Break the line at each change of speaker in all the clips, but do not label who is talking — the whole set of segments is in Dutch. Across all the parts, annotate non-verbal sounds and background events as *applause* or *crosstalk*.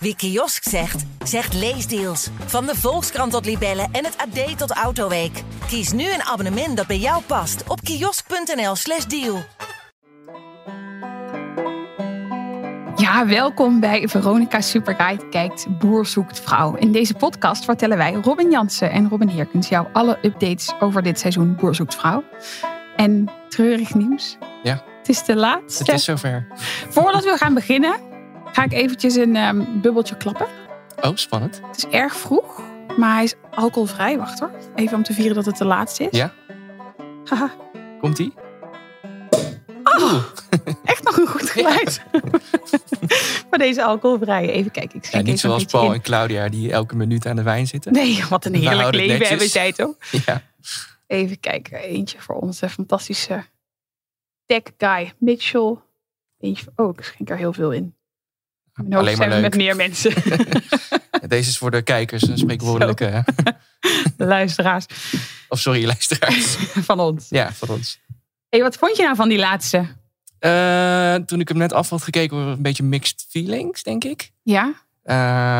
Wie kiosk zegt, zegt leesdeals. Van de Volkskrant tot Libellen en het AD tot Autoweek. Kies nu een abonnement dat bij jou past op kiosk.nl/slash deal.
Ja, welkom bij Veronica Superguide kijkt Boer zoekt vrouw. In deze podcast vertellen wij Robin Jansen en Robin Heerkens jou alle updates over dit seizoen Boer zoekt vrouw. En treurig nieuws.
Ja.
Het is de laatste.
Het is zover.
Voordat we gaan beginnen, ga ik eventjes een ehm, bubbeltje klappen.
Oh, spannend.
Het is erg vroeg, maar hij is alcoholvrij. Wacht hoor. Even om te vieren dat het de laatste is.
Ja.
Haha,
Komt ie?
echt nog een goed geluid. *laughs* maar deze alcoholvrije. Even kijken. Ik
Ja,
schenk
niet
even een
zoals
beetje
Paul
in.
en Claudia die elke minuut aan de wijn
*laughs*
zitten.
Nee, wat een
We
heerlijk
houden het
leven hebben
netjes.
zij toch?
Ja.
Even kijken. Eentje voor onze fantastische tech guy Mitchell. Eentje voor- oh, ik schenk er heel veel in. Mijn hoofd
Ah, Alleen
zijn
maar
we
leuk.
met meer mensen.
*laughs*
*laughs*
Deze is voor de kijkers een spreekwoordelijke.
De luisteraars
Of sorry, luisteraars.
*laughs* van ons.
Ja, van ons.
hey, wat vond je nou van die laatste?
Eh, toen ik hem net af had gekeken, was het een beetje mixed feelings, denk ik.
Ja?
Eh,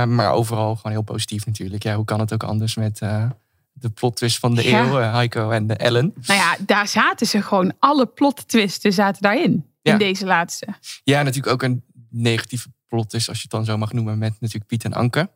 maar overal gewoon heel positief natuurlijk. Ja, hoe kan het ook anders met eh, de plot twist van de
Ja.
eeuw, eh, Heiko en de Ellen.
Nou ja, daar zaten ze gewoon. Alle plot twisten zaten daarin.
Ja.
In deze laatste.
Ja, natuurlijk ook een negatieve plot is, als je het dan zo mag noemen, met natuurlijk Piet en Anke.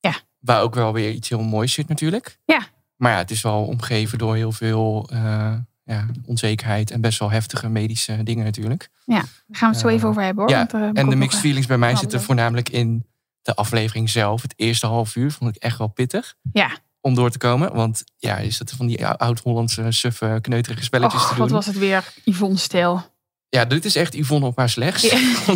Ja.
Waar ook wel weer iets heel moois zit natuurlijk.
Ja.
Maar ja, het is wel omgeven door heel veel eh, ja, onzekerheid en best wel heftige medische dingen natuurlijk.
Daar gaan we het zo
Eh,
even over hebben hoor.
ja,
want er heb ik
En
ook
de
nog
mixed
een-
feelings bij mij
Nou,
zitten
leuk.
voornamelijk in de aflevering zelf. Het eerste half uur vond ik echt wel pittig.
Ja.
Om door te komen. Want ja, is dat van die oud-Hollandse suffe kneuterige spelletjes
Och,
te
wat
doen.
was het weer? Yvonne Stil.
*laughs* Ja, dit is echt Yvonne op haar slechts.
Ja. *laughs*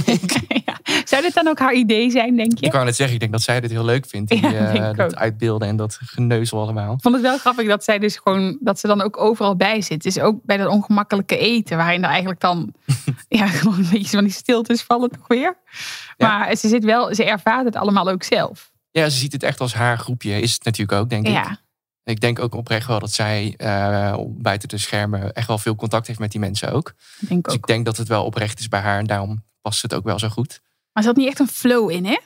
ja. Zou dit dan ook haar idee zijn, denk je?
Ik wou net zeggen, ik denk dat zij dit heel leuk vindt. Die,
*laughs* Ja,
eh,
denk ik
dat
ook.
uitbeelden en dat geneuzel allemaal.
Ik vond het wel grappig dat zij dus gewoon dat ze dan ook overal bij zit. Dus ook bij dat ongemakkelijke eten, waarin er eigenlijk dan *laughs* ja, gewoon een beetje van die stiltes vallen toch weer.
Ja.
Maar ze zit wel, ze ervaart het allemaal ook zelf.
Ja, ze ziet het echt als haar groepje. Is het natuurlijk ook, denk ik.
Ja,
En ik denk ook oprecht wel dat zij eh, buiten de schermen echt wel veel contact heeft met die mensen ook.
dat denk ik
Dus ik
ook.
denk dat het wel oprecht is bij haar. En daarom past het ook wel zo goed.
Maar ze had niet echt een flow in, hè?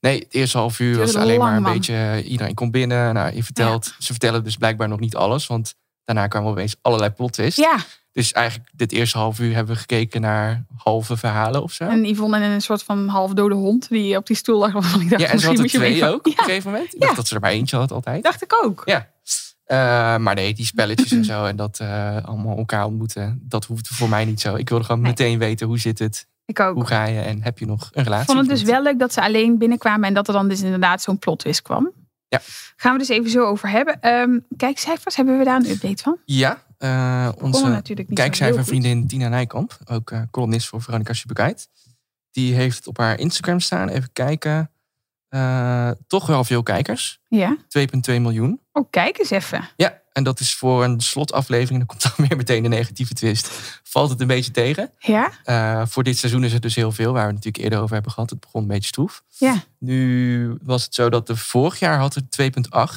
Nee, het eerste half uur was
Duurde
alleen maar een
lang, man.
beetje... eh, Iedereen komt binnen. Nou, je vertelt, Ze vertellen dus blijkbaar nog niet alles. Want daarna kwamen opeens allerlei plot twists.
Ja,
Dus eigenlijk dit eerste half uur hebben we gekeken naar halve verhalen of zo.
en Yvonne en een soort van halfdode hond die op die stoel lag. waarvan Ik dacht,
ja, en
misschien
ze had er
moet je hem
twee
even-
ook op een
Ja,
gegeven moment. Ik dacht
Ja.
dat ze er maar eentje had altijd.
dacht ik ook.
Ja. Eh, maar nee, die spelletjes
*clears throat*
en zo en dat eh, allemaal elkaar ontmoeten, dat hoeft voor mij niet zo. Ik wilde gewoon
Nee.
meteen weten hoe zit het,
Ik ook.
hoe ga je en heb je nog een relatie?
Ik vond het
of
dus
niet?
wel leuk dat ze alleen binnenkwamen en dat er dan dus inderdaad zo'n plotwist kwam.
Ja.
Gaan we dus even zo over hebben. Ehm kijkcijfers, hebben we daar een update van?
Ja, eh
Onze
onze
natuurlijk niet vrienden.
kijkcijfervriendin Tina Nijkamp, ook eh, columnist voor Veronica Superkite, die heeft het op haar Instagram staan. Even kijken. Eh, toch wel veel kijkers,
Ja.
2,2 miljoen.
Oh, kijk eens even.
Ja, en dat is voor een slotaflevering, en dan komt dan weer meteen de negatieve twist, valt het een beetje tegen.
Ja?
Eh, voor dit seizoen is het dus heel veel, waar we het natuurlijk eerder over hebben gehad. Het begon een beetje stroef.
Ja.
Nu was het zo dat de vorig jaar had het 2,8.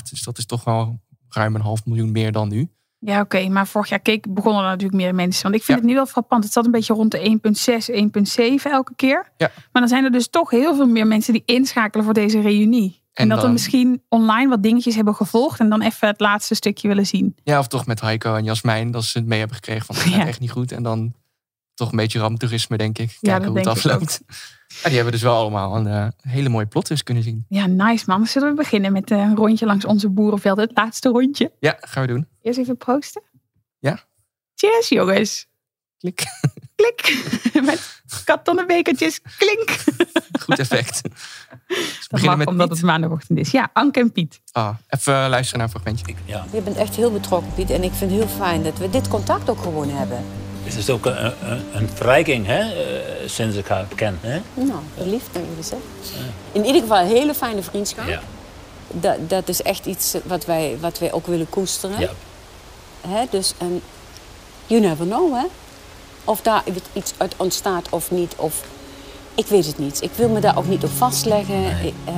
Dus dat is toch wel ruim een half miljoen meer dan nu.
Ja, oké. Maar vorig jaar keek, begonnen er natuurlijk meer mensen. Want ik vind
Ja.
het nu wel frappant. Het zat een beetje rond de 1,6, 1,7 elke keer.
Ja.
Maar dan zijn er dus toch heel veel meer mensen die inschakelen voor deze reunie. En,
En
dat er
dan-
misschien online wat dingetjes hebben gevolgd. En dan even het laatste stukje willen zien.
Ja, of toch met Heiko en Jasmijn, dat ze het mee hebben
*laughs*
gekregen van het gaat
Ja.
echt niet goed. En dan toch een beetje ramptoerisme, denk ik.
Ja,
Kijken
dat
hoe
denk
het
ik
afloopt. Ja, die hebben dus wel allemaal een eh, hele mooie plot dus kunnen zien.
Ja, nice man. Zullen we beginnen met eh, een rondje langs onze boerenvelden. Het laatste rondje.
Ja, gaan we doen.
Eerst even proosten.
Ja.
Cheers jongens. *laughs*
Klik. *laughs*
Klik. met kartonnen bekertjes. Klink.
Goed
*laughs*
effect. Dus we
Dat mag
beginnen met
omdat
Piet.
het maandagochtend is. Ja, Anke en Piet.
Ah, even luisteren naar een fragmentje.
Je bent echt heel betrokken, Piet. En ik vind het heel fijn dat we dit contact ook gewoon hebben.
Het is ook een, een, een verrijking hè, eh, sinds ik haar ken. Hè?
Nou, lief van jullie, zeg. In ieder geval een hele fijne vriendschap.
Ja.
Dat, dat is echt iets wat wij, wat wij ook willen koesteren.
Ja.
Hè? Dus, en you never know, hè. Of daar iets uit ontstaat of niet. Of, ik weet het niet. Ik wil me daar ook niet op vastleggen. Ik, eh,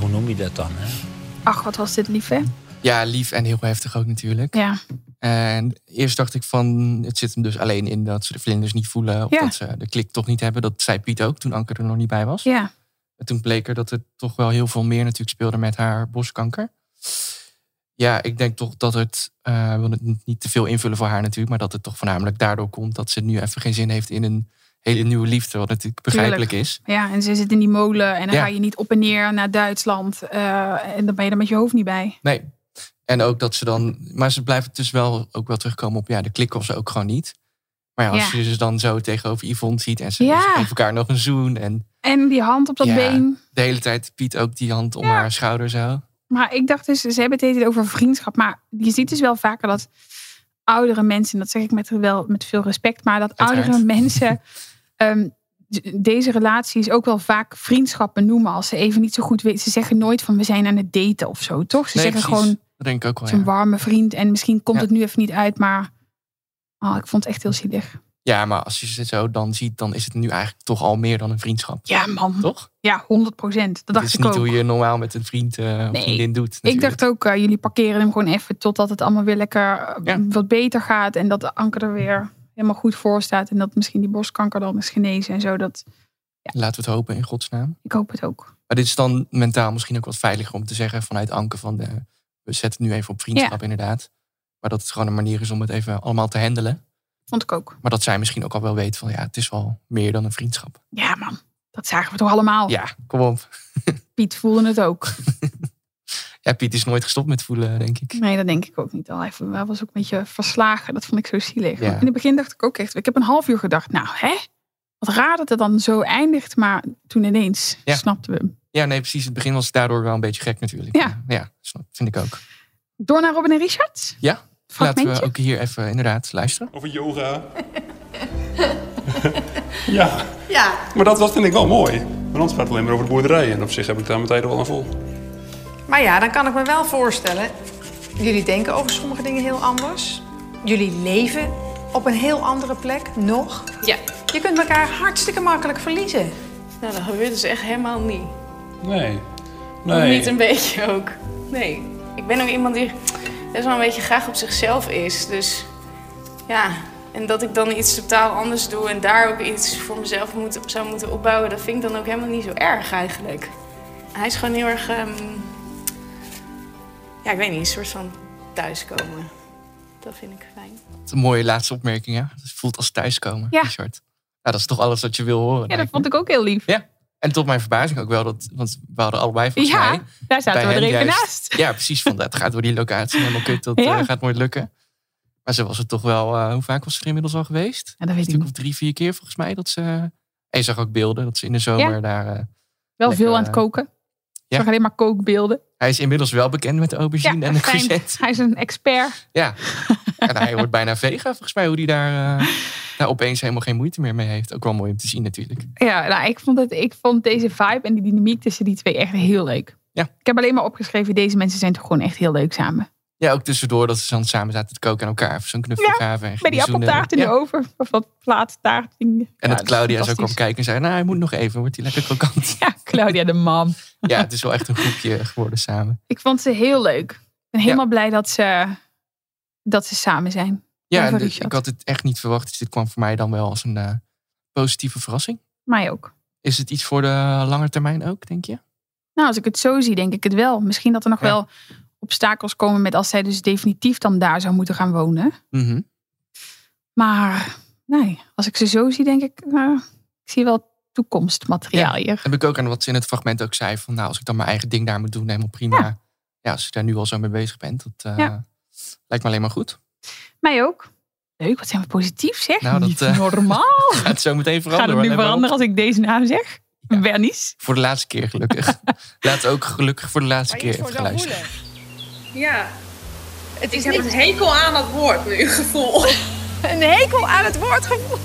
Hoe noem je dat dan? Hè?
Ach, wat was dit lief hè?
Ja, lief en heel heftig ook natuurlijk.
Ja.
En eerst dacht ik van, het zit hem dus alleen in dat ze de vlinders niet voelen. Of
Ja.
dat ze de klik toch niet hebben. Dat zei Piet ook toen Anker er nog niet bij was.
Ja,
En toen bleek er dat er toch wel heel veel meer natuurlijk speelde met haar borstkanker. Ja, ik denk toch dat het, eh, ik wil het niet- niet te veel invullen voor haar natuurlijk, maar dat het toch voornamelijk daardoor komt dat ze nu even geen zin heeft in een hele nieuwe liefde, wat natuurlijk begrijpelijk is.
Ja, en ze zit in die molen en dan
Ja.
ga je niet op en neer naar Duitsland. eh, en dan ben je er met je hoofd niet bij.
Nee. En ook dat ze dan, maar ze blijven dus wel ook wel terugkomen op, ja, de klik of ze ook gewoon niet. Maar ja, als
Ja.
je ze dan zo tegenover Yvonne ziet en ze
Ja.
ze geven elkaar nog een zoen en
En die hand op dat
Ja.
been.
de hele tijd Piet ook die hand om
Ja.
haar schouder zo.
Maar ik dacht dus, ze hebben het eten over vriendschap. Maar je ziet dus wel vaker dat oudere mensen, en dat zeg ik met, wel, met veel respect, maar dat
Uiteraard.
oudere *laughs* mensen ehm, d- deze relaties ook wel vaak vriendschappen noemen. Als ze even niet zo goed weten. Ze zeggen nooit van we zijn aan het daten of zo, toch? Ze zeggen
precies.
gewoon
Dat denk ik ook wel,
zo'n
Oh, ja.
warme vriend. En misschien komt
Ja.
het nu even niet uit, maar oh, ik vond het echt heel zielig.
Ja, maar als je ze zo dan ziet, dan is het nu eigenlijk toch al meer dan een vriendschap.
Ja, man.
Toch?
Ja, 100 procent. Dat
Dat
dacht
is
Mhm. ik
niet
ook.
hoe je normaal met een vriend eh, of
Nee.
vriendin doet.
Ik
natuurlijk.
dacht ook, eh, jullie parkeren hem gewoon even totdat het allemaal weer lekker eh,
Ja.
wat beter gaat. En dat de anker er weer helemaal goed voor staat. En dat misschien die borstkanker dan is genezen en zo. Dat,
Laten we het hopen in godsnaam.
ik hoop het ook.
Maar dit is dan mentaal misschien ook wat veiliger om te zeggen vanuit Anke van de, we zetten het nu even op vriendschap inderdaad. Maar dat het gewoon een manier is om het even allemaal te handelen.
Vond ik ook.
Maar dat zij misschien ook al wel weet van ja, het is wel meer dan een vriendschap.
Ja man, dat zagen we toch allemaal.
Ja, kom op.
Piet voelde het ook.
Ja, Piet is nooit gestopt met voelen, denk ik.
Nee, dat denk ik ook niet. Al even, hij was ook een beetje verslagen. Dat vond ik zo zielig.
Ja.
In het begin dacht ik ook echt, ik heb een half uur gedacht. Nou hè, wat raar dat het dan zo eindigt. Maar toen ineens
Ja.
snapten we hem.
Ja, nee, precies. In het begin was het daardoor wel een beetje gek natuurlijk.
Ja.
ja snap- vind ik ook.
Door naar Robin en Richard.
Ja, laten
Fragmentje?
we ook hier even inderdaad luisteren.
Over yoga. ja.
Ja,
Maar dat, dat vind ik wel mooi. Want anders gaat het alleen maar over de boerderij. En op zich heb ik daar mijn tijden wel aan vol.
maar ja, dan kan ik me wel voorstellen. Jullie denken over sommige dingen heel anders. Jullie leven op een heel andere plek nog.
Ja.
Je kunt elkaar hartstikke makkelijk verliezen.
Nou, dat gebeurt dus echt helemaal niet.
Nee.
Of
Nee.
Niet een beetje ook. Nee. Ik ben ook iemand die best wel een beetje graag op zichzelf is. Dus ja, en dat ik dan iets totaal anders doe en daar ook iets voor mezelf moet, zou moeten opbouwen, dat vind ik dan ook helemaal niet zo erg eigenlijk. Hij is gewoon heel erg, ehm, ja, ik weet niet, een soort van thuiskomen. Dat vind ik fijn.
Een mooie laatste opmerking, ja. Het voelt als thuiskomen,
Ja.
Richard. Ja, dat is toch alles wat je wil horen.
Ja, dat
lijkt me.
vond ik ook heel lief.
En tot mijn verbazing ook wel, dat, want we hadden allebei volgens
Ja,
mij...
daar zaten we
hen
er even
juist-
naast.
Ja, precies. Van, dat gaat door die locatie helemaal kut, dat eh,
Ja.
gaat nooit lukken. Maar ze was het toch wel... eh, hoe vaak was ze er inmiddels al geweest?
Ja, dat
Een
weet ik
stuk
niet.
of drie, vier keer volgens mij. Dat ze, en je zag ook beelden dat ze in de zomer daar... eh,
Wel
Lekker,
veel aan het
eh,
koken.
ja.
Ik zag alleen maar kookbeelden.
hij is inmiddels wel bekend met de
Ja,
aubergine en de
fijn. *laughs*
courgette.
Hij is een expert.
Ja. en hij wordt bijna vega volgens mij, hoe die daar, eh, daar opeens helemaal geen moeite meer mee heeft. Ook wel mooi om te zien natuurlijk.
Ja, nou, ik, vond het, ik vond deze vibe en die dynamiek tussen die twee echt heel leuk.
Ja.
Ik heb alleen maar opgeschreven, deze mensen zijn toch gewoon echt heel leuk samen.
Ja, ook tussendoor dat ze dan samen zaten te koken en elkaar even zo'n knuffel
Ja,
gaven. En
Bij die
gingen zoenen.
appeltaart in
Ja.
de oven, of dat plaattaart. En
En dat Claudia zo kwam
ook
kijken en zei, nou, hij moet nog even, wordt hij lekker
*laughs*
krokant.
Ja, Claudia de mam.
ja, het is wel echt een groepje geworden samen.
Ik vond ze heel leuk. Ik ben helemaal blij dat ze, dat ze samen zijn.
Ja,
Ja,
en
van
de-
Richard.
ik had het echt niet verwacht, dus dit kwam voor mij dan wel als een eh, positieve verrassing.
Mij ook.
Is het iets voor de lange termijn ook, denk je?
Nou, als ik het zo zie, denk ik het wel. Misschien dat er nog
Ja.
wel obstakels komen met als zij dus definitief dan daar zou moeten gaan wonen.
Mhm.
Maar nee, als ik ze zo zie, denk ik, nou, ik zie wel toekomstmateriaal hier.
Heb ik ook aan wat ze in het fragment ook zei, van nou, als ik dan mijn eigen ding daar moet doen, helemaal prima. Ja, als je daar nu al zo mee bezig bent, dat eh,
Ja.
lijkt me alleen maar goed. *laughs*
Mij ook. Leuk, wat zijn we positief zeg.
Nou, dat,
Niet
eh, *laughs*
normaal.
Gaat het zo meteen
Gaat
veranderen.
het nu
hoor. Let maar op.
veranderen als ik deze naam zeg?
Ja.
Bernice.
Voor de laatste keer gelukkig.
*laughs*
Laat ook gelukkig voor de laatste keer even gaan luisteren.
Ja. Het is ik heb een hekel aan dat woord nu, gevoel. Een hekel aan het woord gevoel?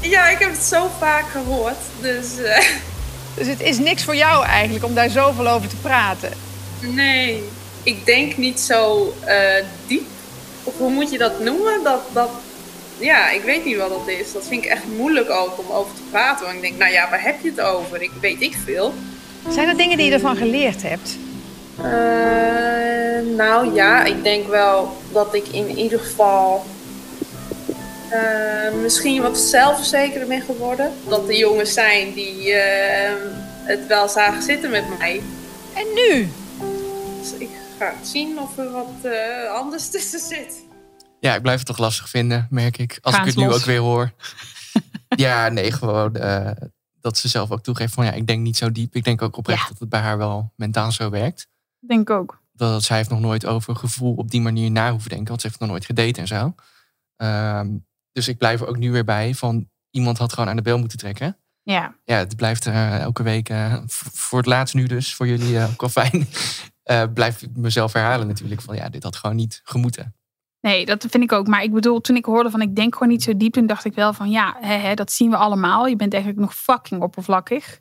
Ja, ik heb het zo vaak gehoord. Dus eh,
Dus het is niks voor jou eigenlijk om daar zoveel over te praten.
nee, ik denk niet zo eh, diep. Of hoe moet je dat noemen? Dat, dat, ja, ik weet niet wat dat is. Dat vind ik echt moeilijk ook om over te praten. Want ik denk, nou ja, waar heb je het over? Ik weet ik veel.
Zijn er dingen die je ervan geleerd hebt?
Eh, nou ja, ik denk wel dat ik in ieder geval eh, misschien wat zelfverzekerder ben geworden. Dat er jongens zijn die eh, het wel zagen zitten met mij.
En nu?
Dus ik ga zien of er wat eh, anders *laughs* tussen zit.
Ja, ik blijf het toch lastig vinden, merk ik. Als
Gaans
ik het nu
los.
ook weer hoor.
*laughs*
ja, nee, gewoon eh, dat ze zelf ook toegeeft van ja, ik denk niet zo diep. Ik denk ook oprecht
Ja.
dat het bij haar wel mentaal zo werkt.
Denk ook.
Dat zij heeft nog nooit over gevoel op die manier na hoeven denken. Want ze heeft nog nooit gedate en zo. Ehm, dus ik blijf er ook nu weer bij van iemand had gewoon aan de bel moeten trekken.
Ja.
Ja, het blijft eh, elke week, eh, v- voor het laatst nu dus, voor jullie eh, ook al fijn. *laughs* eh, blijf ik mezelf herhalen natuurlijk van ja, dit had gewoon niet gemoeten.
Nee, dat vind ik ook. Maar ik bedoel, toen ik hoorde van ik denk gewoon niet zo diep, toen dacht ik wel van ja, hè, hè, dat zien we allemaal. Je bent eigenlijk nog fucking oppervlakkig.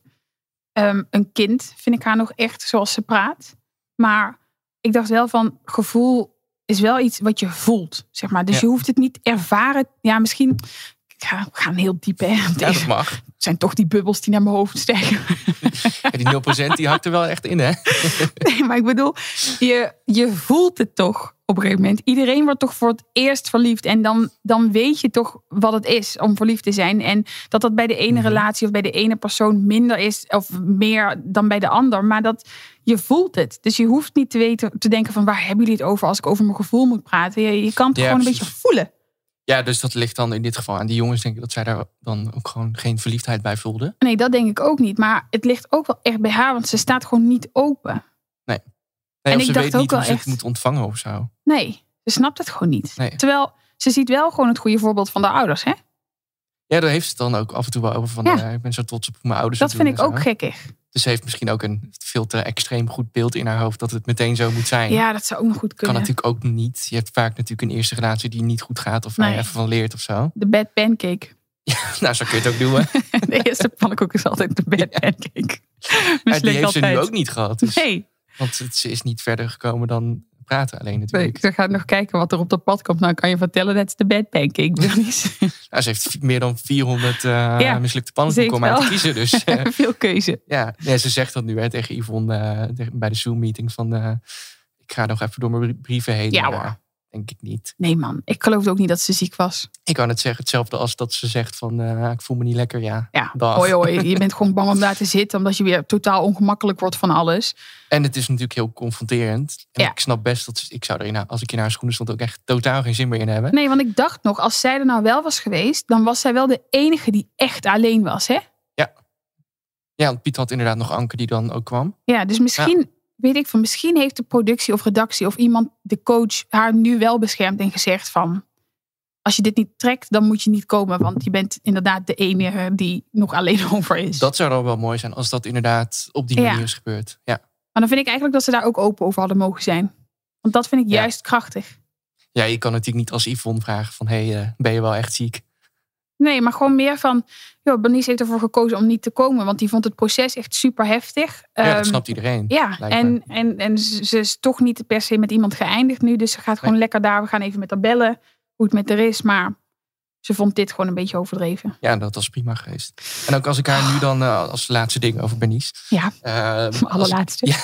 Ehm, een kind vind ik haar nog echt zoals ze praat. Maar ik dacht wel van gevoel is wel iets wat je voelt, zeg maar. Dus
Ja.
je hoeft het niet ervaren. Ja, misschien. Ik ga, we gaan heel diep, hè.
Ja,
*laughs*
dat mag.
Het zijn toch die bubbels die naar mijn hoofd stijgen.
Ja, die 0% die hakt er wel echt in, hè?
Nee, *laughs* maar ik bedoel, je, je voelt het toch op een gegeven moment. Iedereen wordt toch voor het eerst verliefd. En dan, dan weet je toch wat het is om verliefd te zijn. En dat dat bij de ene
Mhm.
relatie of bij de ene persoon minder is of meer dan bij de ander. Maar dat je voelt het. Dus je hoeft niet te, weten, te denken van waar hebben jullie het over als ik over mijn gevoel moet praten. Je, je kan het
Ja,
gewoon een
precies.
beetje voelen.
Ja, dus dat ligt dan in dit geval aan die jongens, denk ik, dat zij daar dan ook gewoon geen verliefdheid bij voelden.
Nee, dat denk ik ook niet. Maar het ligt ook wel echt bij haar, want ze staat gewoon niet open.
Nee,
En
of
ik
ze
dacht
weet
ook
niet
wel
hoe ze
echt-
het moet ontvangen of zo.
Nee, ze snapt het gewoon niet.
Nee.
Terwijl ze ziet wel gewoon het goede voorbeeld van de ouders, hè?
Ja, daar heeft ze het dan ook af en toe wel over van,
Ja.
eh, ik ben zo trots op hoe mijn ouders
Dat
het
vind
doen
ik
en
ook
zo.
gekkig.
Dus ze heeft misschien ook een veel te extreem goed beeld in haar hoofd dat het meteen zo moet zijn.
Ja, dat zou ook nog goed
Kan
kunnen.
natuurlijk ook niet. Je hebt vaak natuurlijk een eerste relatie die niet goed gaat of waar je
Nee.
even van leert of zo. *laughs*
De bad pancake. *laughs*
Nou, zo kun je het ook doen. hè.
De eerste pannenkoek is altijd
*laughs*
de bad pancake.
Maar die
Mislukt
heeft ze nu
altijd.
ook niet gehad. Dus,
Nee,
Want het- ze is niet verder gekomen dan praten alleen
nee,
natuurlijk.
ik ga nog kijken wat er op dat pad komt. Nou, kan je vertellen, dat is de bad pancake, *laughs* Bernice.
Nou, ze heeft meer dan 400 eh,
Ja,
mislukte pannenkoeken om
zeker
uit te
wel.
kiezen.
*laughs*
Dus eh,
Veel keuze.
Ja, nee, ze zegt dat nu hè, tegen Yvonne eh, tegen- bij de Zoom-meeting van... eh, ik ga nog even door mijn brie- brieven heen.
Ja,
maar
hoor.
denk ik niet.
Nee man, ik geloof ook niet dat ze ziek was.
Ik kan het zeggen, hetzelfde als dat ze zegt van... eh, ik voel me niet lekker, ja.
Ja,
Dag.
hoi
*laughs*
hoi. Je bent gewoon bang om daar te zitten. Omdat je weer totaal ongemakkelijk wordt van alles.
En het is natuurlijk heel confronterend. En
Ja.
ik snap best dat... ze- Ik zou er in haar- als ik in haar schoenen stond ook echt totaal geen zin meer in hebben.
Nee, want ik dacht nog, als zij er nou wel was geweest... dan was zij wel de enige die echt alleen was, hè?
Ja, want Piet had inderdaad nog Anke die dan ook kwam.
Ja, dus misschien, weet ik van, misschien heeft de productie of redactie of iemand, de coach, haar nu wel beschermd en gezegd van, als je dit niet trekt, dan moet je niet komen, want je bent inderdaad de enige die nog alleen *laughs* over is.
Dat zou dan wel mooi zijn als dat inderdaad op die
Ja.
manier is gebeurd. Ja.
Maar dan vind ik eigenlijk dat ze daar ook open over hadden mogen zijn. Want dat vind ik
Ja.
juist krachtig.
ja, je kan natuurlijk niet als Yvonne vragen van... Hé, hey, eh, ben je wel echt ziek?
Nee, maar gewoon meer van, joh, Bernice heeft ervoor gekozen om niet te komen, want die vond het proces echt super heftig.
Ja, dat
Ehm,
snapt iedereen.
Ja,
lijkt
en,
me.
en, en ze ze is toch niet per se met iemand geëindigd nu. Dus ze gaat gewoon
Nee.
lekker daar. We gaan even met haar bellen. Hoe het met haar is. Maar ze vond dit gewoon een beetje overdreven.
Ja, dat was prima geweest. En ook als ik haar nu dan eh, als laatste ding over Bernice.
Ja,
eh, als-
allerlaatste.
Ja,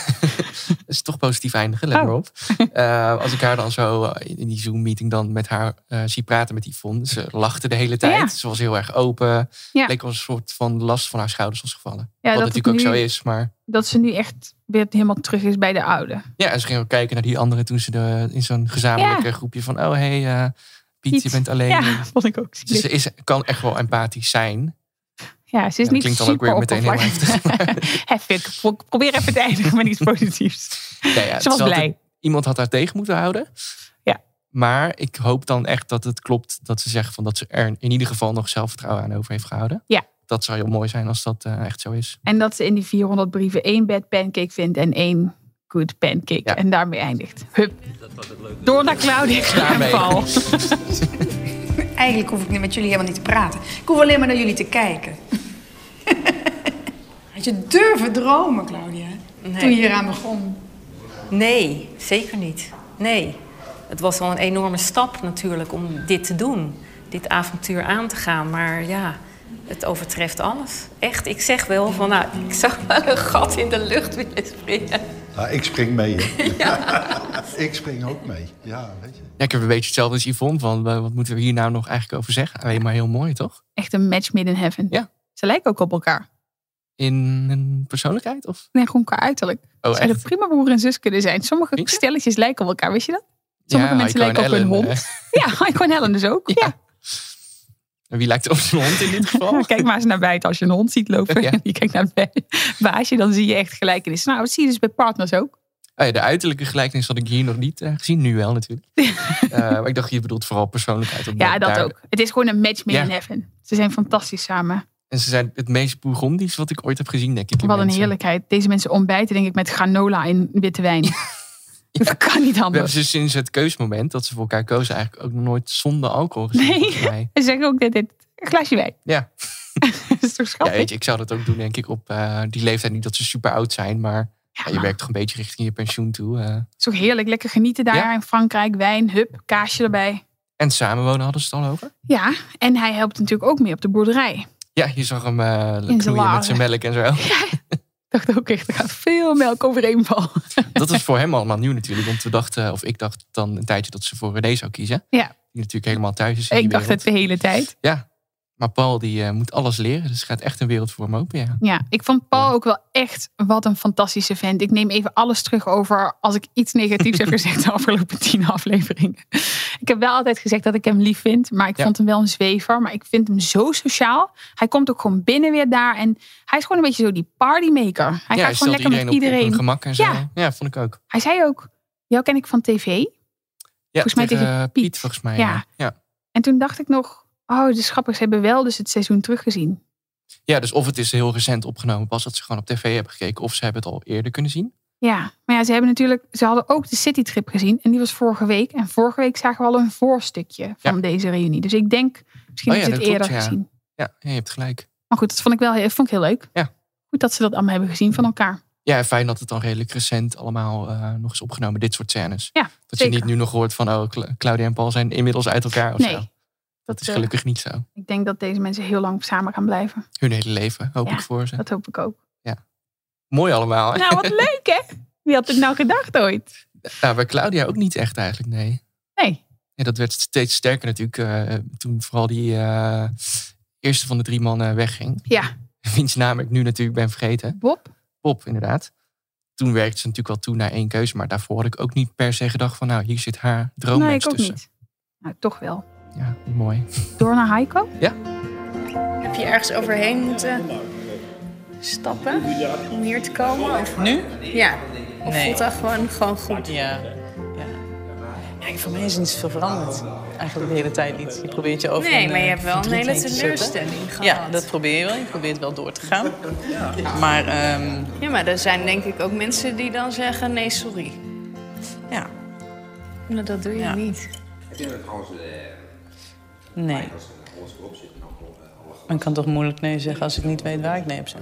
dat is toch positief eindigen, let
Oh.
maar
*laughs*
op. Eh, als ik haar dan zo eh, in die Zoom-meeting dan met haar eh, zie praten met Yvonne. Ze lachte de hele tijd.
Ja.
Ze was heel erg open.
Ja.
Leek als een soort van last van haar schouders was gevallen.
Ja,
Wat
dat, het
natuurlijk ook
nu,
zo is. Maar
dat ze nu echt weer helemaal terug is bij de oude.
ja, en ze ging ook kijken naar die anderen toen ze de, in zo'n gezamenlijk
Ja.
eh, groepje van... Oh, hey, eh, Piet,
Piet.
je bent alleen.
*laughs* Ja, vond ik ook
Dus
zielig.
ze is, kan echt wel empathisch zijn.
Ja, ze is
Ja,
niet
klinkt dan ook weer
super
meteen heel
oppervlakkig. *laughs* Even, ik pro- probeer even te eindigen met
*laughs*
iets positiefs.
Nou ja, het
Ze was
zal
blij.
iemand had haar tegen moeten houden.
Ja.
Maar ik hoop dan echt dat het klopt dat ze zeggen van dat ze er in ieder geval nog zelfvertrouwen aan over heeft gehouden.
Ja.
Dat zou heel mooi zijn als dat eh, echt zo is.
En dat ze in die 400 brieven één bad pancake vindt en één good pancake.
Ja.
En daarmee eindigt. Hup. Door naar Claudia
Daarmee.
Kraanval.
Eigenlijk hoef ik niet met jullie helemaal niet te praten. Ik hoef alleen maar naar jullie te kijken. *laughs* Had je durven dromen, Claudia,
Nee.
toen je hieraan begon?
Nee, zeker niet. Nee. Het was al een enorme stap natuurlijk om dit te doen. Dit avontuur aan te gaan. Maar ja, het overtreft alles. Echt, ik zeg wel van nou, ik zou *laughs* wel een gat in de lucht willen springen.
Nou, ik spring mee, hè. ik spring ook mee. Ja, weet je.
Ja, ik heb een beetje hetzelfde als Yvonne van eh, wat moeten we hier nou nog eigenlijk over zeggen? Alleen maar heel mooi toch?
Echt een match made in heaven.
Ja.
Ze lijken ook op elkaar.
in een persoonlijkheid? Of?
Nee, gewoon qua uiterlijk.
Oh,
Zouden
echt?
prima broer en zus kunnen zijn. Sommige stelletjes lijken op elkaar, wist je dat? Sommige
Ja,
mensen
Heiko en
lijken op hun
Ellen, eh, *laughs*
hond. Ja, Heiko en Helen dus ook. Ja.
En Wie lijkt op zijn hond in dit
*laughs*
geval?
Kijk maar eens naar buiten als je een hond ziet lopen.
Ja.
En *laughs* je kijkt naar het bij- baasje, dan zie je echt gelijkenis. Nou, dat zie je dus bij partners ook.
Oh ja, de uiterlijke gelijkenis had ik hier nog niet eh, gezien. Nu wel
*laughs*
natuurlijk. Eh, maar ik dacht, je bedoelt vooral persoonlijkheid. omdat
Ja, dat
daar-
ook. Het is gewoon een match made
Ja.
in heaven. Ze zijn fantastisch samen.
En ze zijn het meest Bourgondisch wat ik ooit heb gezien, denk ik. in
Wat een
mensen.
heerlijkheid. Deze mensen ontbijten denk ik met granola en witte wijn. *laughs* Dat kan niet
We hebben
anders.
ze sinds het keusmoment dat ze voor elkaar kozen eigenlijk ook nog nooit zonder alcohol gezien.
Nee,
volgens
*laughs*
mij.
ze zeggen ook dit, dit. Een glasje wijn.
Ja.
*laughs* dat is toch
Ja,
schattig?
weet je, ik zou dat ook doen, denk ik, op eh, die leeftijd. Niet dat ze super oud zijn, maar ja, je werkt toch een beetje richting je pensioen toe. eh.
Het is toch heerlijk. Lekker genieten daar in Frankrijk. Wijn, hup, kaasje erbij.
En samenwonen hadden ze het al over.
Ja, en hij helpt natuurlijk ook mee op de boerderij.
Ja, je zag hem eh knoeien
laren.
met zijn
*laughs*
melk en zo.
Ik dacht ook echt, er gaat veel melk overheen vallen.
Dat is voor hem allemaal nieuw natuurlijk. Want we dachten, of ik dacht dan een tijdje dat ze voor René zou kiezen.
Ja,
Die natuurlijk helemaal thuis is in die
ik dacht het
wereld.
de hele tijd.
Ja, maar Paul die eh, moet alles leren. Dus het gaat echt een wereld voor hem open, ja.
Ja, ik vond Paul ook wel echt wat een fantastische vent. Ik neem even alles terug over als ik iets negatiefs
*laughs*
heb gezegd de afgelopen tien afleveringen. Ik heb wel altijd gezegd dat ik hem lief vind, maar ik vond hem wel een zwever. Maar ik vind hem zo sociaal. Hij komt ook gewoon binnen weer daar en hij is gewoon een beetje zo die partymaker. Hij
ja,
gaat gewoon
stelt
lekker met
op- op
iedereen.
hun gemak en zo.
Ja.
Ja. vond ik ook.
Hij zei ook, jou ken ik van tv.
Ja,
Volgens mij tegen
eh, Piet. volgens mij.
Ja.
Ja. Ja.
En toen dacht ik nog, oh, de schappers hebben wel dus het seizoen teruggezien.
ja, dus of het is heel recent opgenomen pas dat ze gewoon op tv hebben gekeken. Of ze hebben het al eerder kunnen zien.
Ja, maar ja, ze hebben natuurlijk, ze hadden ook de citytrip gezien en die was vorige week. En vorige week zagen we al een voorstukje van deze reunie. Dus ik denk, misschien
Oh
is
ja,
het
dat klopt,
eerder
ja.
gezien.
Ja, ja, je hebt gelijk.
Maar goed, dat vond ik wel heel, vond ik heel leuk.
Ja.
Goed dat ze dat allemaal hebben gezien van elkaar.
Ja, en fijn dat het dan redelijk recent allemaal eh, nog is opgenomen, dit soort scènes.
Ja,
dat
zeker.
je niet nu nog hoort van, oh, Cla- Claudia en Paul zijn inmiddels uit elkaar of
Nee,
zo.
dat,
Dat, is
eh,
gelukkig niet zo.
Ik denk dat deze mensen heel lang samen gaan blijven.
Hun hele leven, hoop
Ja,
ik voor ze.
Dat hoop ik
*laughs*
ook.
Mooi allemaal. hè?
Nou,
*laughs*
wat leuk hè? Wie had het nou gedacht ooit?
Nou, bij Claudia ook niet echt eigenlijk, nee.
Nee.
Ja, dat werd steeds sterker natuurlijk eh, toen vooral die eh, eerste van de drie mannen wegging.
Ja,
*laughs* Wiens naam ik nu natuurlijk ben vergeten.
Bob?
Bob, inderdaad. Toen werkte ze natuurlijk wel toe naar één keuze. Maar daarvoor had ik ook niet per se gedacht van... nou, hier zit haar droommatch
nee, ik ook
tussen.
niet. Nou, toch wel.
Ja, mooi.
Door naar Heiko?
Ja.
Heb je ergens overheen moeten stappen om hier te komen? Of
Nu?
Ja. Of
Nee.
voelt dat gewoon, gewoon goed?
Ja. Ja, voor mij is er niet zoveel veranderd. Eigenlijk de hele tijd niet. Je probeert je over
Nee,
een,
maar je
eh,
hebt wel een
verdriet
hele
heen te zetten.
teleurstelling gehad.
Ja, dat probeer je wel. Je probeert wel door te gaan. Maar ehm,
Ja, maar er zijn denk ik ook mensen die dan zeggen nee, sorry.
Ja.
Maar dat doe je
Ja.
niet.
nee. Men kan eh, toch moeilijk nee zeggen als ik niet weet waar ik nee heb. zeg.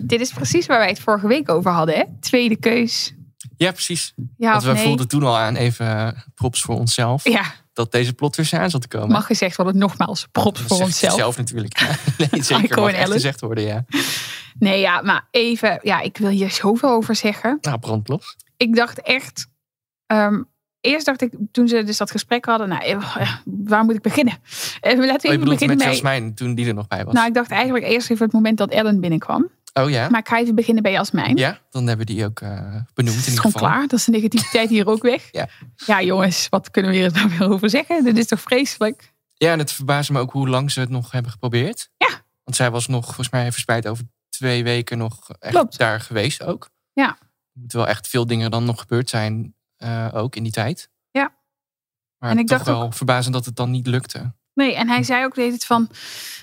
Dit is precies waar wij het vorige week over hadden hè? Tweede keus.
Ja, precies.
Ja
Want
of
we
nee?
voelden toen al aan, even eh, props voor onszelf...
Ja.
dat deze plot weer aan zat te komen.
Mag gezegd worden, nogmaals, props
Dat
voor
zegt
onszelf.
Zelf natuurlijk. *laughs* nee, zeker.
Icon
Mag echt
Ellen.
gezegd worden, ja.
Nee, ja, maar even. Ja, ik wil hier zoveel over zeggen.
Nou, brandplos.
Ik dacht echt. ehm, eerst dacht ik, toen ze dus dat gesprek hadden, nou, eh, waar moet ik beginnen? *laughs* Eh, laten
Oh,
we
je
even
bedoelt
beginnen
met
bij.
Jasmijn toen die er nog bij was.
Nou, ik dacht eigenlijk eerst even het moment dat Ellen binnenkwam.
oh ja.
Maar ik ga even beginnen bij Jasmijn.
Ja, dan hebben we die ook eh, benoemd in
Het is
ieder
gewoon
geval.
klaar. Dat is de negativiteit hier ook weg.
Ja.
ja, jongens, wat kunnen we hier nou weer over zeggen? Dit is toch vreselijk?
Ja, en het verbaasde me ook hoe lang ze het nog hebben geprobeerd. Ja. Want zij was nog, volgens mij, verspreid over twee weken nog echt daar geweest ook.
Ja,
Er moeten wel echt veel dingen dan nog gebeurd zijn, eh, ook in die tijd.
ja.
Maar
En ik
toch
dacht
wel verbazend dat het dan niet lukte.
Nee, en hij zei ook deed het van,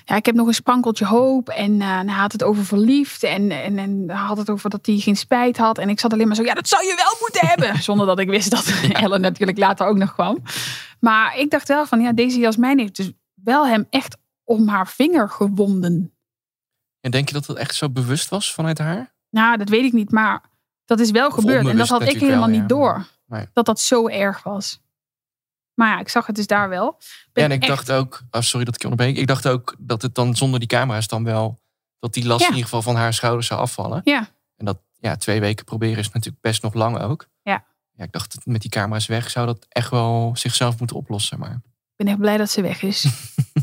ja, ik heb nog een sprankeltje hoop. En eh, en hij had het over verliefd en, en, en hij had het over dat hij geen spijt had. En ik zat alleen maar zo, ja, dat zou je wel moeten
*laughs*
hebben. Zonder dat ik wist dat *laughs* Ellen natuurlijk later ook nog kwam. Maar ik dacht wel van, ja, deze Jasmijn heeft dus wel hem echt om haar vinger gewonden.
En denk je dat dat echt zo bewust was vanuit haar?
Nou, dat weet ik niet, maar dat is wel gebeurd. En dat
onbewust
had ik
natuurlijk
helemaal
wel,
niet
ja.
door.
Nee.
Dat dat zo erg was. Maar ja, ik zag het dus daar wel.
Ja,
Ben
en ik
echt-
dacht ook, oh, sorry dat ik je onderbreek. Ik dacht ook dat het dan zonder die camera's dan wel, dat die last
Ja.
in ieder geval van haar schouders zou afvallen.
Ja,
En dat ja, twee weken proberen is natuurlijk best nog lang ook.
ja.
Ja, ik dacht, met die camera's weg zou dat echt wel zichzelf moeten oplossen. Maar
*laughs* Ik ben echt blij dat ze weg is.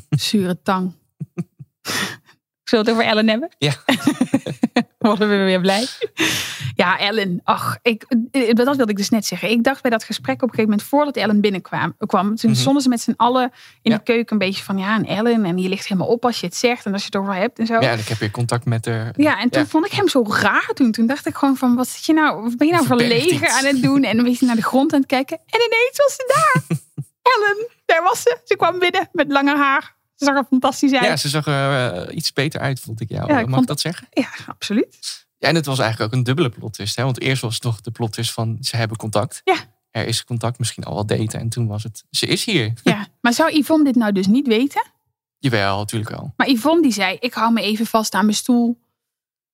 Zure tang. *laughs* Zullen we het over Ellen hebben? *laughs*
Ja.
Worden we weer blij. Ja, Ellen. Ach, ik, eh, dat wilde ik dus net zeggen. Ik dacht bij dat gesprek op een gegeven moment, voordat Ellen binnenkwam, kwam, toen
Mhm.
stonden ze met z'n allen in de keuken een beetje van, ja, en Ellen, en die ligt helemaal op als je het zegt en als je het over hebt en zo.
Ja, en ik heb weer contact met haar.
Ja, en toen vond ik hem zo raar toen. Toen dacht ik gewoon van, wat zit je nou, wat ben je nou
Verbergt
verlegen
iets.
aan het doen? En dan ben je naar de grond aan het kijken. En ineens was ze
*laughs*
daar. Ellen, daar was ze. Ze kwam binnen met lange haar. Ze zag er fantastisch uit.
Ja, ze zag er eh, iets beter uit, vond ik jou.
Ja, ik
Mag
vond-
ik dat zeggen?
Ja, absoluut.
Ja, en het was eigenlijk ook een dubbele plot twist. Hè? Want eerst was het nog de plot twist van ze hebben contact. Er is contact, misschien al wel daten. En toen was het, ze is hier.
Ja. Maar zou Yvonne dit nou dus niet weten?
*laughs* Jawel, natuurlijk wel.
Maar Yvonne die zei, ik hou me even vast aan mijn stoel.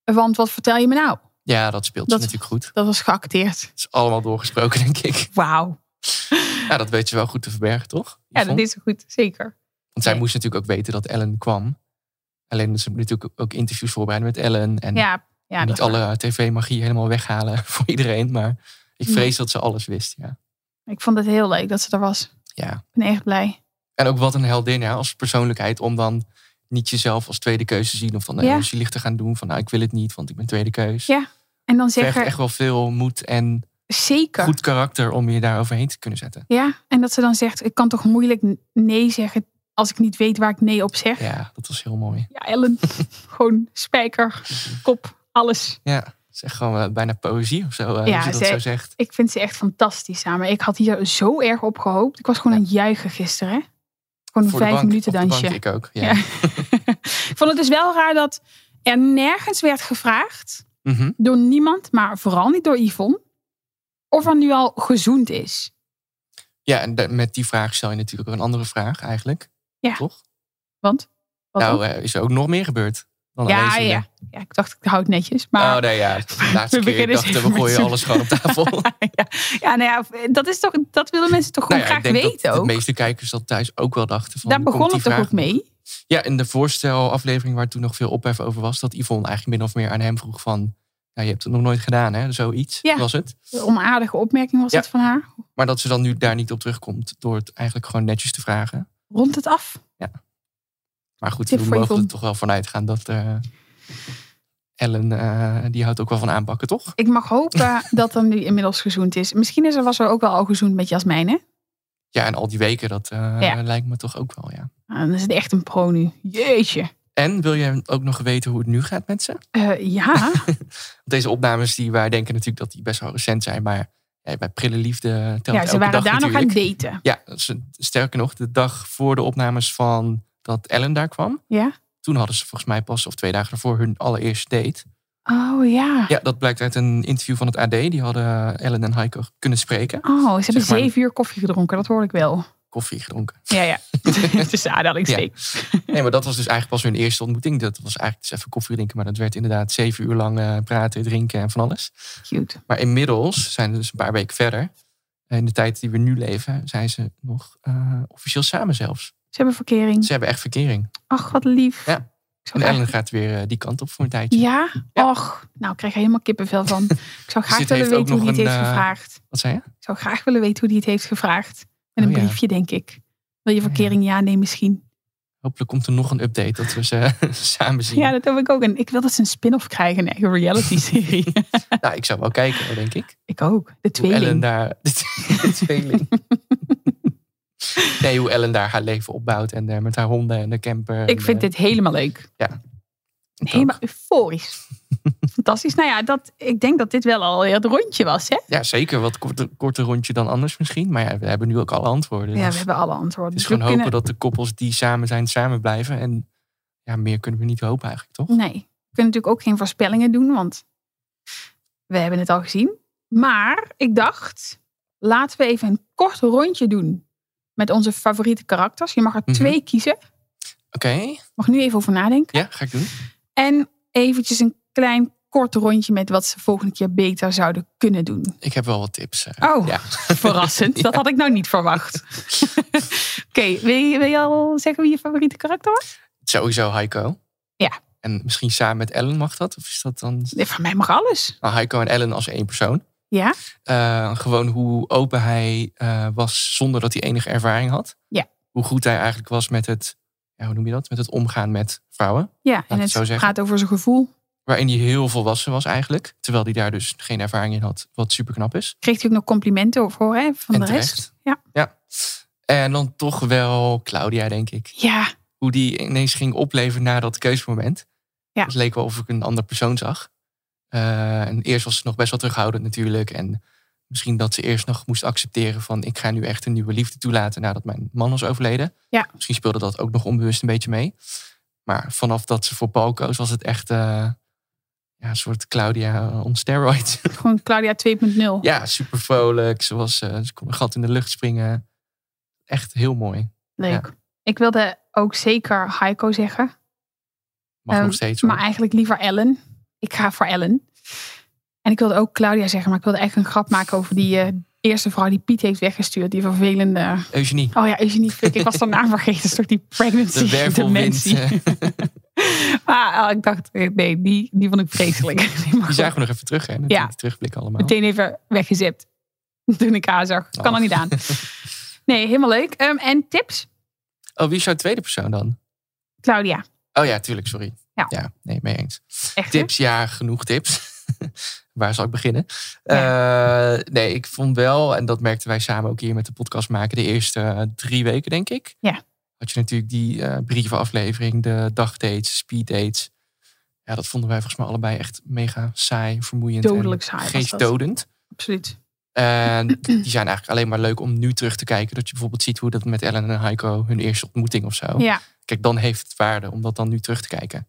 Want wat vertel je me nou?
Ja, dat speelt
Dat-
ze natuurlijk goed.
Dat was geacteerd.
Het is allemaal doorgesproken, denk ik.
Wauw.
Ja, dat weet ze wel goed te verbergen, toch?
Ja, dat
Yvonne?
is goed. Zeker.
Want zij moest natuurlijk ook weten dat Ellen kwam. Alleen ze moet natuurlijk ook interviews voorbereiden met Ellen. En
Ja, ja, dat
niet
is
alle tv-magie helemaal weghalen *laughs* voor iedereen. Maar ik
Nee.
vrees dat ze alles wist. Ja.
Ik vond het heel leuk dat ze er was.
ja.
Ik ben echt blij.
En ook wat een heldin ja, als persoonlijkheid. Om dan niet jezelf als tweede keuze te zien. Of van
Ja.
ja. licht te gaan doen. Van nou, ik wil het niet, want ik ben tweede keus.
Ja. En dan
Het
zeg
vergt
er
echt wel veel moed en
zeker.
goed karakter om je daar overheen te kunnen zetten.
Ja, en dat ze dan zegt, ik kan toch moeilijk nee zeggen als ik niet weet waar ik nee op zeg.
Ja, dat was heel mooi.
Ja, Ellen, *laughs* gewoon spijker, kop, alles.
Ja, het is echt gewoon eh, bijna poëzie of zo. eh,
Ja,
als je dat
ze-
zo zegt.
Ik vind ze echt fantastisch samen. Ik had hier zo erg op gehoopt. Ik was gewoon aan het juichen gisteren. Hè? Gewoon een
Voor de
vijf
bank,
minuten
op de bank,
dansje.
ik ook, ja.
*laughs* ik vond het dus wel raar dat er nergens werd gevraagd
*laughs* Mhm.
door niemand, maar vooral niet door Yvonne, of er nu al gezoend is.
Ja, en da- met die vraag stel je natuurlijk ook een andere vraag eigenlijk.
Ja.
Toch?
Want? Wat
nou,
dan?
eh, is er ook nog meer gebeurd? Dan alleen
ja,
zoenen?
ja. ja, ik dacht, ik hou het netjes. Maar
Oh nee, ja. De
*laughs*
laatste
We
keer
beginnen
dachten
eens
we
even
gooien
met
alles gewoon op
*laughs*
tafel.
Ja, nou ja, dat, is toch, dat willen mensen toch
Nou
gewoon
ja, ik
graag
denk dat
weten
de
ook.
meeste kijkers dat thuis ook wel dachten. Van,
Daar
hoe
begon
komt
het
die
toch ook
vraag?
mee?
Ja, in de voorstelaflevering waar toen nog veel ophef over was... dat Yvonne eigenlijk min of meer aan hem vroeg van... Ja, je hebt het nog nooit gedaan, hè? Zoiets
Ja.
was het.
De onaardige opmerking was
Ja.
dat van haar.
Maar dat ze dan nu daar niet op terugkomt... door het eigenlijk gewoon netjes te vragen.
Rond het af.
Maar goed,
Tip
we
voor
mogen
Yvonne.
er toch wel vanuit gaan dat... eh, Ellen, eh, die houdt ook wel van aanpakken, toch?
Ik mag
*laughs*
hopen dat er nu inmiddels gezoend is. Misschien is er, was er ook wel al gezoend met Jasmijn, hè?
Ja, en al die weken, dat eh,
Ja.
lijkt me toch ook wel, ja.
Ah, Dan is het echt een pro nu. Jeetje.
En wil jij ook nog weten hoe het nu gaat met ze? Want *laughs*
Eh, ja,
Deze opnames, die wij denken natuurlijk dat die best wel recent zijn, maar ja, bij Prille Liefde telt
ja ze
elke
waren
dag
daar nog aan
natuurlijk.
het daten.
Ja, ze- sterker nog, de dag voor de opnames van dat Ellen daar kwam,
Ja?
toen hadden ze volgens mij pas, of twee dagen daarvoor, hun allereerste date.
Oh ja.
Ja, dat blijkt uit een interview van het AD. Die hadden eh, Ellen en Heiko kunnen spreken.
Oh, ze hebben
Zeg maar-
zeven uur koffie gedronken, dat hoor ik wel.
Koffie gedronken.
Ja,
*laughs*
ja. *laughs* Tussen aanhalingstekens.
Nee, maar dat was dus eigenlijk pas hun eerste ontmoeting. Dat was eigenlijk dus even koffie drinken. Maar dat werd inderdaad zeven uur lang eh, praten, drinken en van alles.
Cute.
Maar inmiddels zijn we dus een paar weken verder. In de tijd die we nu leven, zijn ze nog eh, officieel samen zelfs.
Ze hebben verkering.
Ze hebben echt verkering.
Ach, wat lief.
Ja. En Ellen gaat weer eh, die kant op voor een tijdje.
Ja? Och, nou ik krijg er helemaal kippenvel
*laughs*
van. Ik zou graag
dit
willen
heeft ook
weten hoe
nog
hij het
een,
heeft
eh,
gevraagd.
Wat zei je?
Ik zou graag willen weten hoe die het heeft gevraagd. Met een
Oh ja. Oh
briefje, denk ik. Wil je verkering? Ja, nee, misschien.
Hopelijk komt er nog een update dat we ze *laughs* samen zien.
Ja, dat heb ik ook. En ik wil dat ze een spin-off krijgen, een eigen
*laughs*
reality-serie.
Nou, ik zou wel kijken, hoor, denk ik.
*laughs* ik ook. De
Hoe Ellen
tweeling.
daar... *laughs* De tweeling. Nee, hoe Ellen daar haar leven opbouwt. En eh, met haar honden en eh, de camper.
Ik vind
dit
dit helemaal leuk.
Ja.
Helemaal
*laughs*
euforisch. Fantastisch. Nou ja, dat, ik denk dat dit wel al het rondje was, hè?
Ja, zeker. Wat korter, korter rondje dan anders misschien. Maar ja, we hebben nu ook alle antwoorden.
Ja,
Dus
we hebben alle antwoorden.
Het
Dus
is gewoon
we
hopen
kunnen-
dat de koppels die samen zijn, samen blijven. En ja, meer kunnen we niet hopen eigenlijk, toch?
Nee. We kunnen natuurlijk ook geen voorspellingen doen, want we hebben het al gezien. Maar ik dacht, laten we even een kort rondje doen met onze favoriete karakters. Je mag
Mhm.
er twee kiezen.
Oké,
Mag nu even over nadenken.
ja, ga ik doen.
En eventjes een klein kort rondje met wat ze volgende keer beter zouden kunnen doen.
Ik heb wel wat tips. eh.
Oh, *laughs* verrassend.
*laughs*
Dat had ik nou niet verwacht. Oké, wil, je- wil je al zeggen wie je favoriete karakter was?
Sowieso Heiko.
Ja.
En misschien samen met Ellen mag dat? Of is dat dan...
Nee, Van mij mag alles.
Nou, Heiko en Ellen als één persoon.
Ja?
Eh, gewoon hoe open hij eh, was zonder dat hij enige ervaring had.
Ja.
Hoe goed hij eigenlijk was met het ja, hoe noem je dat? Met het omgaan met vrouwen.
Ja, en
ik
het
zo zeggen.
gaat over zijn gevoel.
Waarin hij heel volwassen was eigenlijk. Terwijl hij daar dus geen ervaring in had. Wat super knap is.
Kreeg hij ook nog complimenten voor hè, van
En
de
terecht.
rest. Ja.
Ja. En dan toch wel Claudia, denk ik.
Ja.
Hoe die ineens ging opleven na dat keusmoment.
Ja.
Het leek wel of ik een ander persoon zag. Eh, en eerst was ze nog best wel terughoudend natuurlijk. En misschien dat ze eerst nog moest accepteren van... ik ga nu echt een nieuwe liefde toelaten nadat mijn man was overleden.
Ja.
Misschien speelde dat ook nog onbewust een beetje mee. Maar vanaf dat ze voor Paul koos was het echt... eh, ja, een soort Claudia on steroids. *laughs*
Gewoon Claudia 2.0.
Ja, super vrolijk. Ze, was, eh, ze kon een gat in de lucht springen. Echt heel mooi.
Leuk. Ik wilde ook zeker Heiko zeggen.
Mag
Ehm,
nog steeds. hoor.
Maar eigenlijk liever Ellen. Ik ga voor Ellen. En ik wilde ook Claudia zeggen, maar ik wilde echt een grap maken over die eh, eerste vrouw die Piet heeft weggestuurd. Die vervelende.
Eugenie.
Oh ja, Eugenie Flik. Ik was de naam vergeten. Dat is toch die *laughs* pregnancy.
De wervelwind.
dementie.
eh,
Maar eh, ik dacht, eh, nee, die, die vond ik vreselijk.
*laughs* Die zagen we nog even terug. Hè? Natuurlijk
Ja.
Die terugblikken allemaal.
Meteen even weggezipt. Toen ik haar zag. Kan er niet aan. Nee, helemaal leuk. Ehm, en tips?
Oh, wie is jouw tweede persoon dan?
Claudia.
Oh ja, tuurlijk, sorry.
Ja.
nee, mee eens.
Echt, hè?
tips, ja, genoeg tips. *laughs* Waar zal ik beginnen? Eh, nee, ik vond wel, en dat merkten wij samen ook hier met de podcast maken, de eerste eh, drie weken, denk ik.
Ja.
Had je natuurlijk die eh, brievenaflevering, de dagdates, speeddates. Ja, dat vonden wij volgens mij allebei echt mega saai, vermoeiend.
Dodelijk
en
saai was dat.
Geestdodend.
Absoluut.
En die zijn eigenlijk alleen maar leuk om nu terug te kijken. Dat je bijvoorbeeld ziet hoe dat met Ellen en Heiko hun eerste ontmoeting of zo.
Ja.
Kijk, dan heeft het waarde om dat dan nu terug te kijken.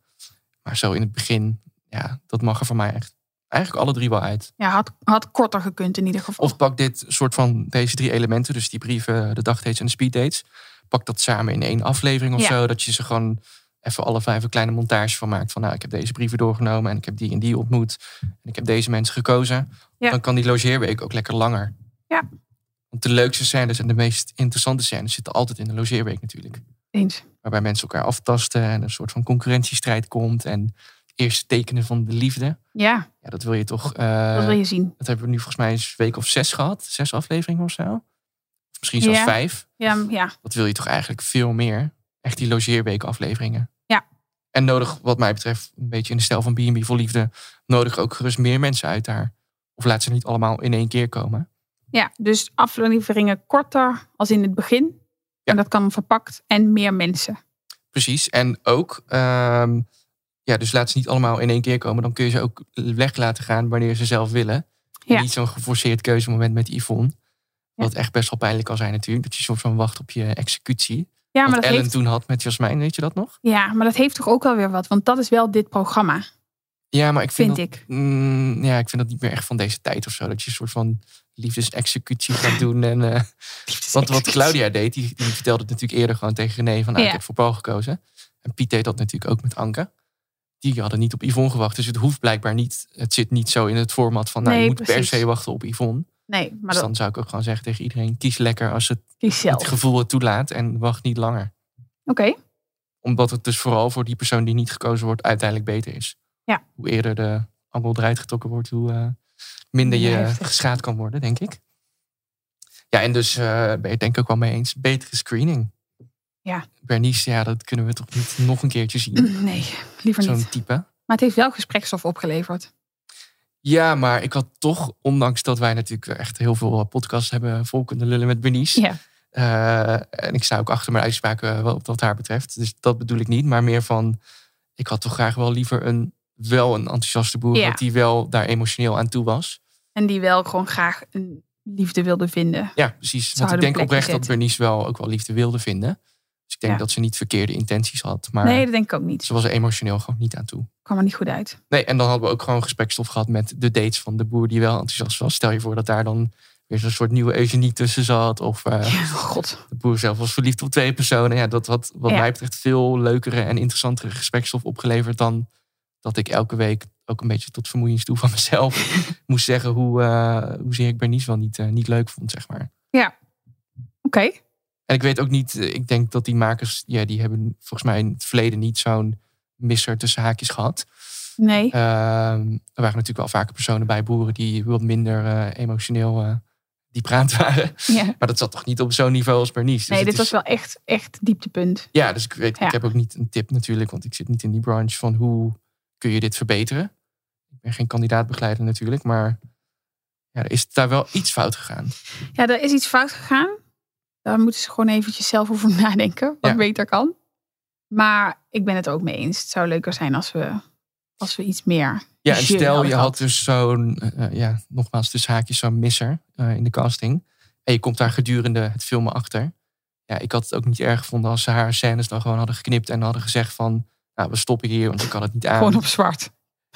Maar zo in het begin, ja, dat mag er voor mij echt eigenlijk alle drie wel uit.
Ja, had, had korter gekund in ieder geval.
Of pak dit soort van deze drie elementen, dus die brieven, de dagdates en de speeddates. Pak dat samen in één aflevering of
Ja.
zo. Dat je ze gewoon even alle vijf een kleine montage van maakt. Van nou, ik heb deze brieven doorgenomen en ik heb die en die ontmoet. En ik heb deze mensen gekozen.
Ja.
Dan kan die logeerweek ook lekker langer.
Ja.
Want de leukste scènes en de meest interessante scènes zitten altijd in de logeerweek natuurlijk.
Eens.
Waarbij mensen elkaar aftasten en een soort van concurrentiestrijd komt. En eerste tekenen van de liefde.
Ja,
Ja, dat wil je toch. eh,
dat wil je zien.
Dat hebben we nu volgens mij eens week of zes gehad. Zes afleveringen of zo. Of misschien zelfs
Ja.
vijf.
Ja, ja.
Dat wil je toch eigenlijk veel meer. Echt die logeerweek afleveringen.
Ja.
En nodig, wat mij betreft, een beetje in de stijl van B&B voor Liefde. Nodig ook gerust meer mensen uit daar. Of laat ze niet allemaal in één keer komen.
ja, dus afleveringen korter als in het begin. En dat kan verpakt en meer mensen.
Precies. En ook, ehm, ja, dus laat ze niet allemaal in één keer komen. Dan kun je ze ook weg laten gaan wanneer ze zelf willen. En
Ja.
Niet zo'n geforceerd keuzemoment met Yvonne. Wat echt best wel pijnlijk kan zijn natuurlijk. Dat je soort van wacht op je executie.
maar
wat
dat
Ellen
heeft-
toen had met Jasmijn, weet je dat nog?
Ja, maar dat heeft toch ook wel weer wat, want dat is wel dit programma.
Ja, maar ik vind,
Vind
dat, Mm, ja, ik vind dat niet meer echt van deze tijd of zo. Dat je een soort van liefdesexecutie
*laughs*
gaat doen. En, eh, want wat Claudia deed, die, die vertelde het natuurlijk eerder gewoon tegen René van... ah,
Ja.
ik heb voor Paul gekozen. En Piet deed dat natuurlijk ook met Anke. Die hadden niet op Yvonne gewacht. Dus het hoeft blijkbaar niet. Het zit niet zo in het format van... nou,
Nee,
je moet
precies.
per se wachten op Yvonne.
Nee, maar
dus dan
dat Oh.
zou ik ook gewoon zeggen tegen iedereen... kies lekker als het,
kies zelf.
het
Oké,
gevoel het toelaat en wacht niet langer. Omdat het dus vooral voor die persoon die niet gekozen wordt... uiteindelijk beter is
ja.
hoe eerder de angel eruit getrokken wordt, hoe eh, minder je
Ja, heftig.
geschaad kan worden, denk ik. Ja, en dus eh, ben je het denk ik ook wel mee eens. Betere screening.
Ja,
Bernice, ja, dat kunnen we toch niet nog een
*clears throat*
keertje zien.
*clears throat* nee, liever
Zo'n
niet.
type.
Maar het heeft wel gesprekstof opgeleverd.
Ja, maar ik had toch, ondanks dat wij natuurlijk echt heel veel eh, podcasts hebben vol kunnen lullen met Bernice.
Ja.
eh, en ik sta ook achter mijn uitspraken eh, wat, wat haar betreft. Dus dat bedoel ik niet. Maar meer van, ik had toch graag wel liever een, wel een enthousiaste boer.
Ja.
gehad Die wel daar emotioneel aan toe was.
En die wel gewoon graag een liefde wilde vinden.
Ja, precies.
Ze
Want ik
hadden
denk
een plekje
oprecht dat
zetten.
Bernice wel ook wel liefde wilde vinden. Dus ik denk
Ja.
dat ze niet verkeerde intenties had. Maar
Nee, dat denk ik ook niet.
ze was er emotioneel gewoon niet aan toe.
Kwam er niet goed uit.
Nee, en dan hadden we ook gewoon gesprekstof gehad met de dates van de boer die wel enthousiast was. Stel je voor dat daar dan weer zo'n soort nieuwe Eugenie tussen zat. Of eh,
*laughs* God.
de boer zelf was verliefd op twee personen. Ja, dat had wat
Ja.
mij betreft veel leukere en interessantere gesprekstof opgeleverd dan dat ik elke week ook een beetje tot vermoeiens toe van mezelf moest zeggen hoe, eh hoezeer ik Bernice wel niet, eh, niet leuk vond, zeg maar.
Ja. Oké.
En ik weet ook niet, eh, ik denk dat die makers, ja, die hebben volgens mij in het verleden niet zo'n misser tussen haakjes gehad.
Nee.
Ehm, er waren natuurlijk wel vaker personen bij boeren die wat minder eh, emotioneel eh, diep raad waren. *laughs*
Ja.
Maar dat zat toch niet op zo'n niveau als Bernice. Dus
nee,
het
dit
is-
was wel echt, echt dieptepunt.
Ja, dus ik, weet,
Ja.
ik heb ook niet een tip natuurlijk, want ik zit niet in die branche van hoe kun je dit verbeteren. Ik ben geen kandidaatbegeleider natuurlijk, maar ja, er is daar wel iets fout gegaan.
Ja, er is iets fout gegaan. Daar moeten ze gewoon eventjes zelf over *laughs* nadenken. Wat
Ja.
beter kan. Maar ik ben het ook mee eens. Het zou leuker zijn als we, als we iets meer.
Ja, en
jeu
stel
hadden
je
gehad.
had dus zo'n, eh, eh, ja, nogmaals tussen haakjes, zo'n misser eh, in de casting. En je komt daar gedurende het filmen achter. Ja, ik had het ook niet erg gevonden als ze haar scènes dan gewoon hadden geknipt en hadden gezegd van, nou, we stoppen hier, want je kan het niet aan.
Gewoon op zwart.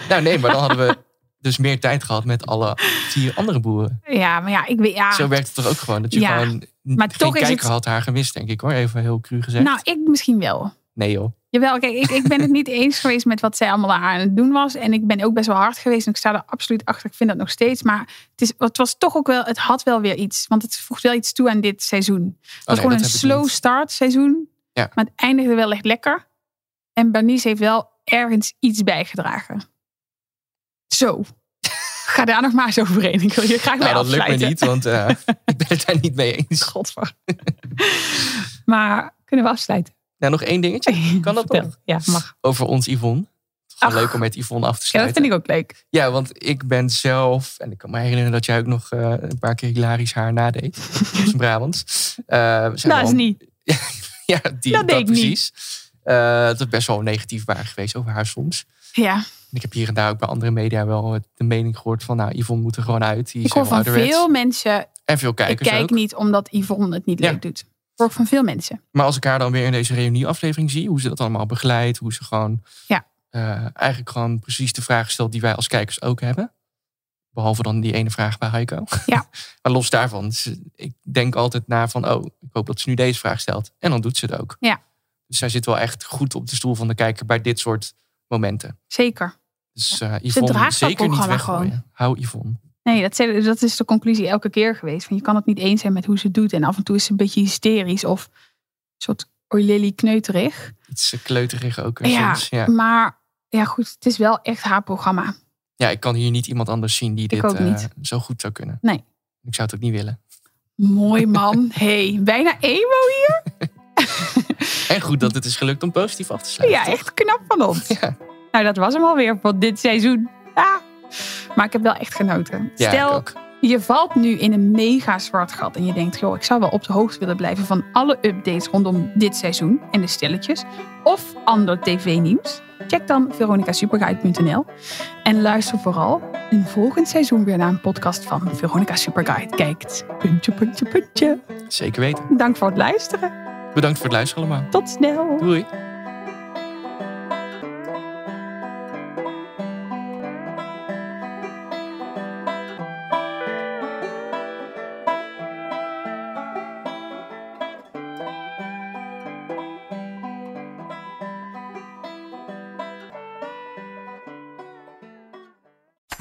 Nou nee, maar dan hadden
*laughs*
we dus meer tijd gehad met alle vier andere boeren.
Ja, maar ja, ik weet. Ja,
Zo werkt het toch ook gewoon? Dat je
Ja,
gewoon n-
maar
geen
toch is
kijker
het-
had haar gemist, denk ik hoor. Even heel cru gezegd.
Nou, ik misschien wel.
Nee joh.
Jawel, kijk, ik, ik ben het niet eens geweest met wat zij allemaal daar aan het doen was. En ik ben ook best wel hard geweest. En ik sta er absoluut achter. Ik vind dat nog steeds. Maar het, is, het was toch ook wel, het had wel weer iets. Want het voegt wel iets toe aan dit seizoen. Het was
Oh nee,
gewoon
dat
een
heb ik
slow
niet.
start seizoen.
Ja.
Maar het eindigde wel echt lekker. En Bernice heeft wel ergens iets bijgedragen. Zo. *laughs* Ga daar nog maar eens overheen. Ik wil je graag bij
Nou, dat lukt
afsluiten.
me niet, want eh, *laughs* ik ben het daar niet mee eens.
Godver. *laughs* Maar kunnen we afsluiten?
Nou, nog één dingetje. Kan dat nog?
Ja, mag.
Over ons Yvonne. Het is wel leuk om met Yvonne af te
Ja, dat
sluiten.
vind ik ook leuk.
Ja, want ik ben zelf, en ik kan me herinneren dat jij ook nog eh, een paar keer hilarisch
*laughs*
haar nadeed. Dat is een Brabant. Eh,
Nou, Dat is niet.
*laughs* Ja, die,
Dat
dat,
deed ik niet.
precies. Eh, dat is best wel negatief waren geweest over haar soms.
Ja.
En ik heb hier en daar ook bij andere media wel eh, de mening gehoord van, nou, Yvonne moet er gewoon uit. Die is
Ik hoor
heel
van
ouderwets.
veel mensen.
En veel
Ik
kijkers
kijk
ook.
niet omdat Yvonne het niet leuk doet. Ik hoor van veel mensen.
Maar als ik haar dan weer in deze reunieaflevering zie, hoe ze dat allemaal begeleidt, hoe ze gewoon
Ja.
eh, eigenlijk gewoon precies de vraag stelt die wij als kijkers ook hebben. Behalve dan die ene vraag bij Heiko.
Ja.
*laughs* maar los daarvan, ze- ik denk altijd na van, oh, ik hoop dat ze nu deze vraag stelt. En dan doet ze het ook.
Ja,
Dus zij zit wel echt goed op de stoel van de kijker bij dit soort momenten.
zeker.
Dus eh
Ze
Yvonne
draagt dat
zeker niet
programma
weggooien.
gewoon.
Hou Yvonne.
Nee, dat, zei- dat is de conclusie elke keer geweest. Van, je kan het niet eens zijn met hoe ze het doet. En af en toe is ze een beetje hysterisch of een soort oilily kneuterig.
Iets eh, kleuterig ook eh,
Ja,
soms. Ja.
maar ja, goed. Het is wel echt haar programma.
ja, ik kan hier niet iemand anders zien die dit
ook
eh,
niet.
zo goed zou kunnen.
Nee.
Ik zou het ook niet willen.
Mooi
*laughs*
man. hey, bijna emo hier.
En goed dat het is gelukt om positief af te sluiten.
Ja,
toch?
echt knap van
*laughs*
ons. Nou, dat was hem alweer voor dit seizoen. Ah. Maar ik heb wel echt genoten.
Ja, ik
Stel,
ook.
je valt nu in een mega zwart gat en je denkt, joh, ik zou wel op de hoogte willen blijven van alle updates rondom dit seizoen en de stelletjes. Of ander tv-nieuws. Check dan veronicasuperguide.nl en luister vooral in volgend seizoen weer naar een podcast van Veronica Superguide. Kijkt. Puntje, puntje, puntje.
Zeker weten.
Dank voor het luisteren.
Bedankt voor het luisteren allemaal.
Tot snel.
Doei.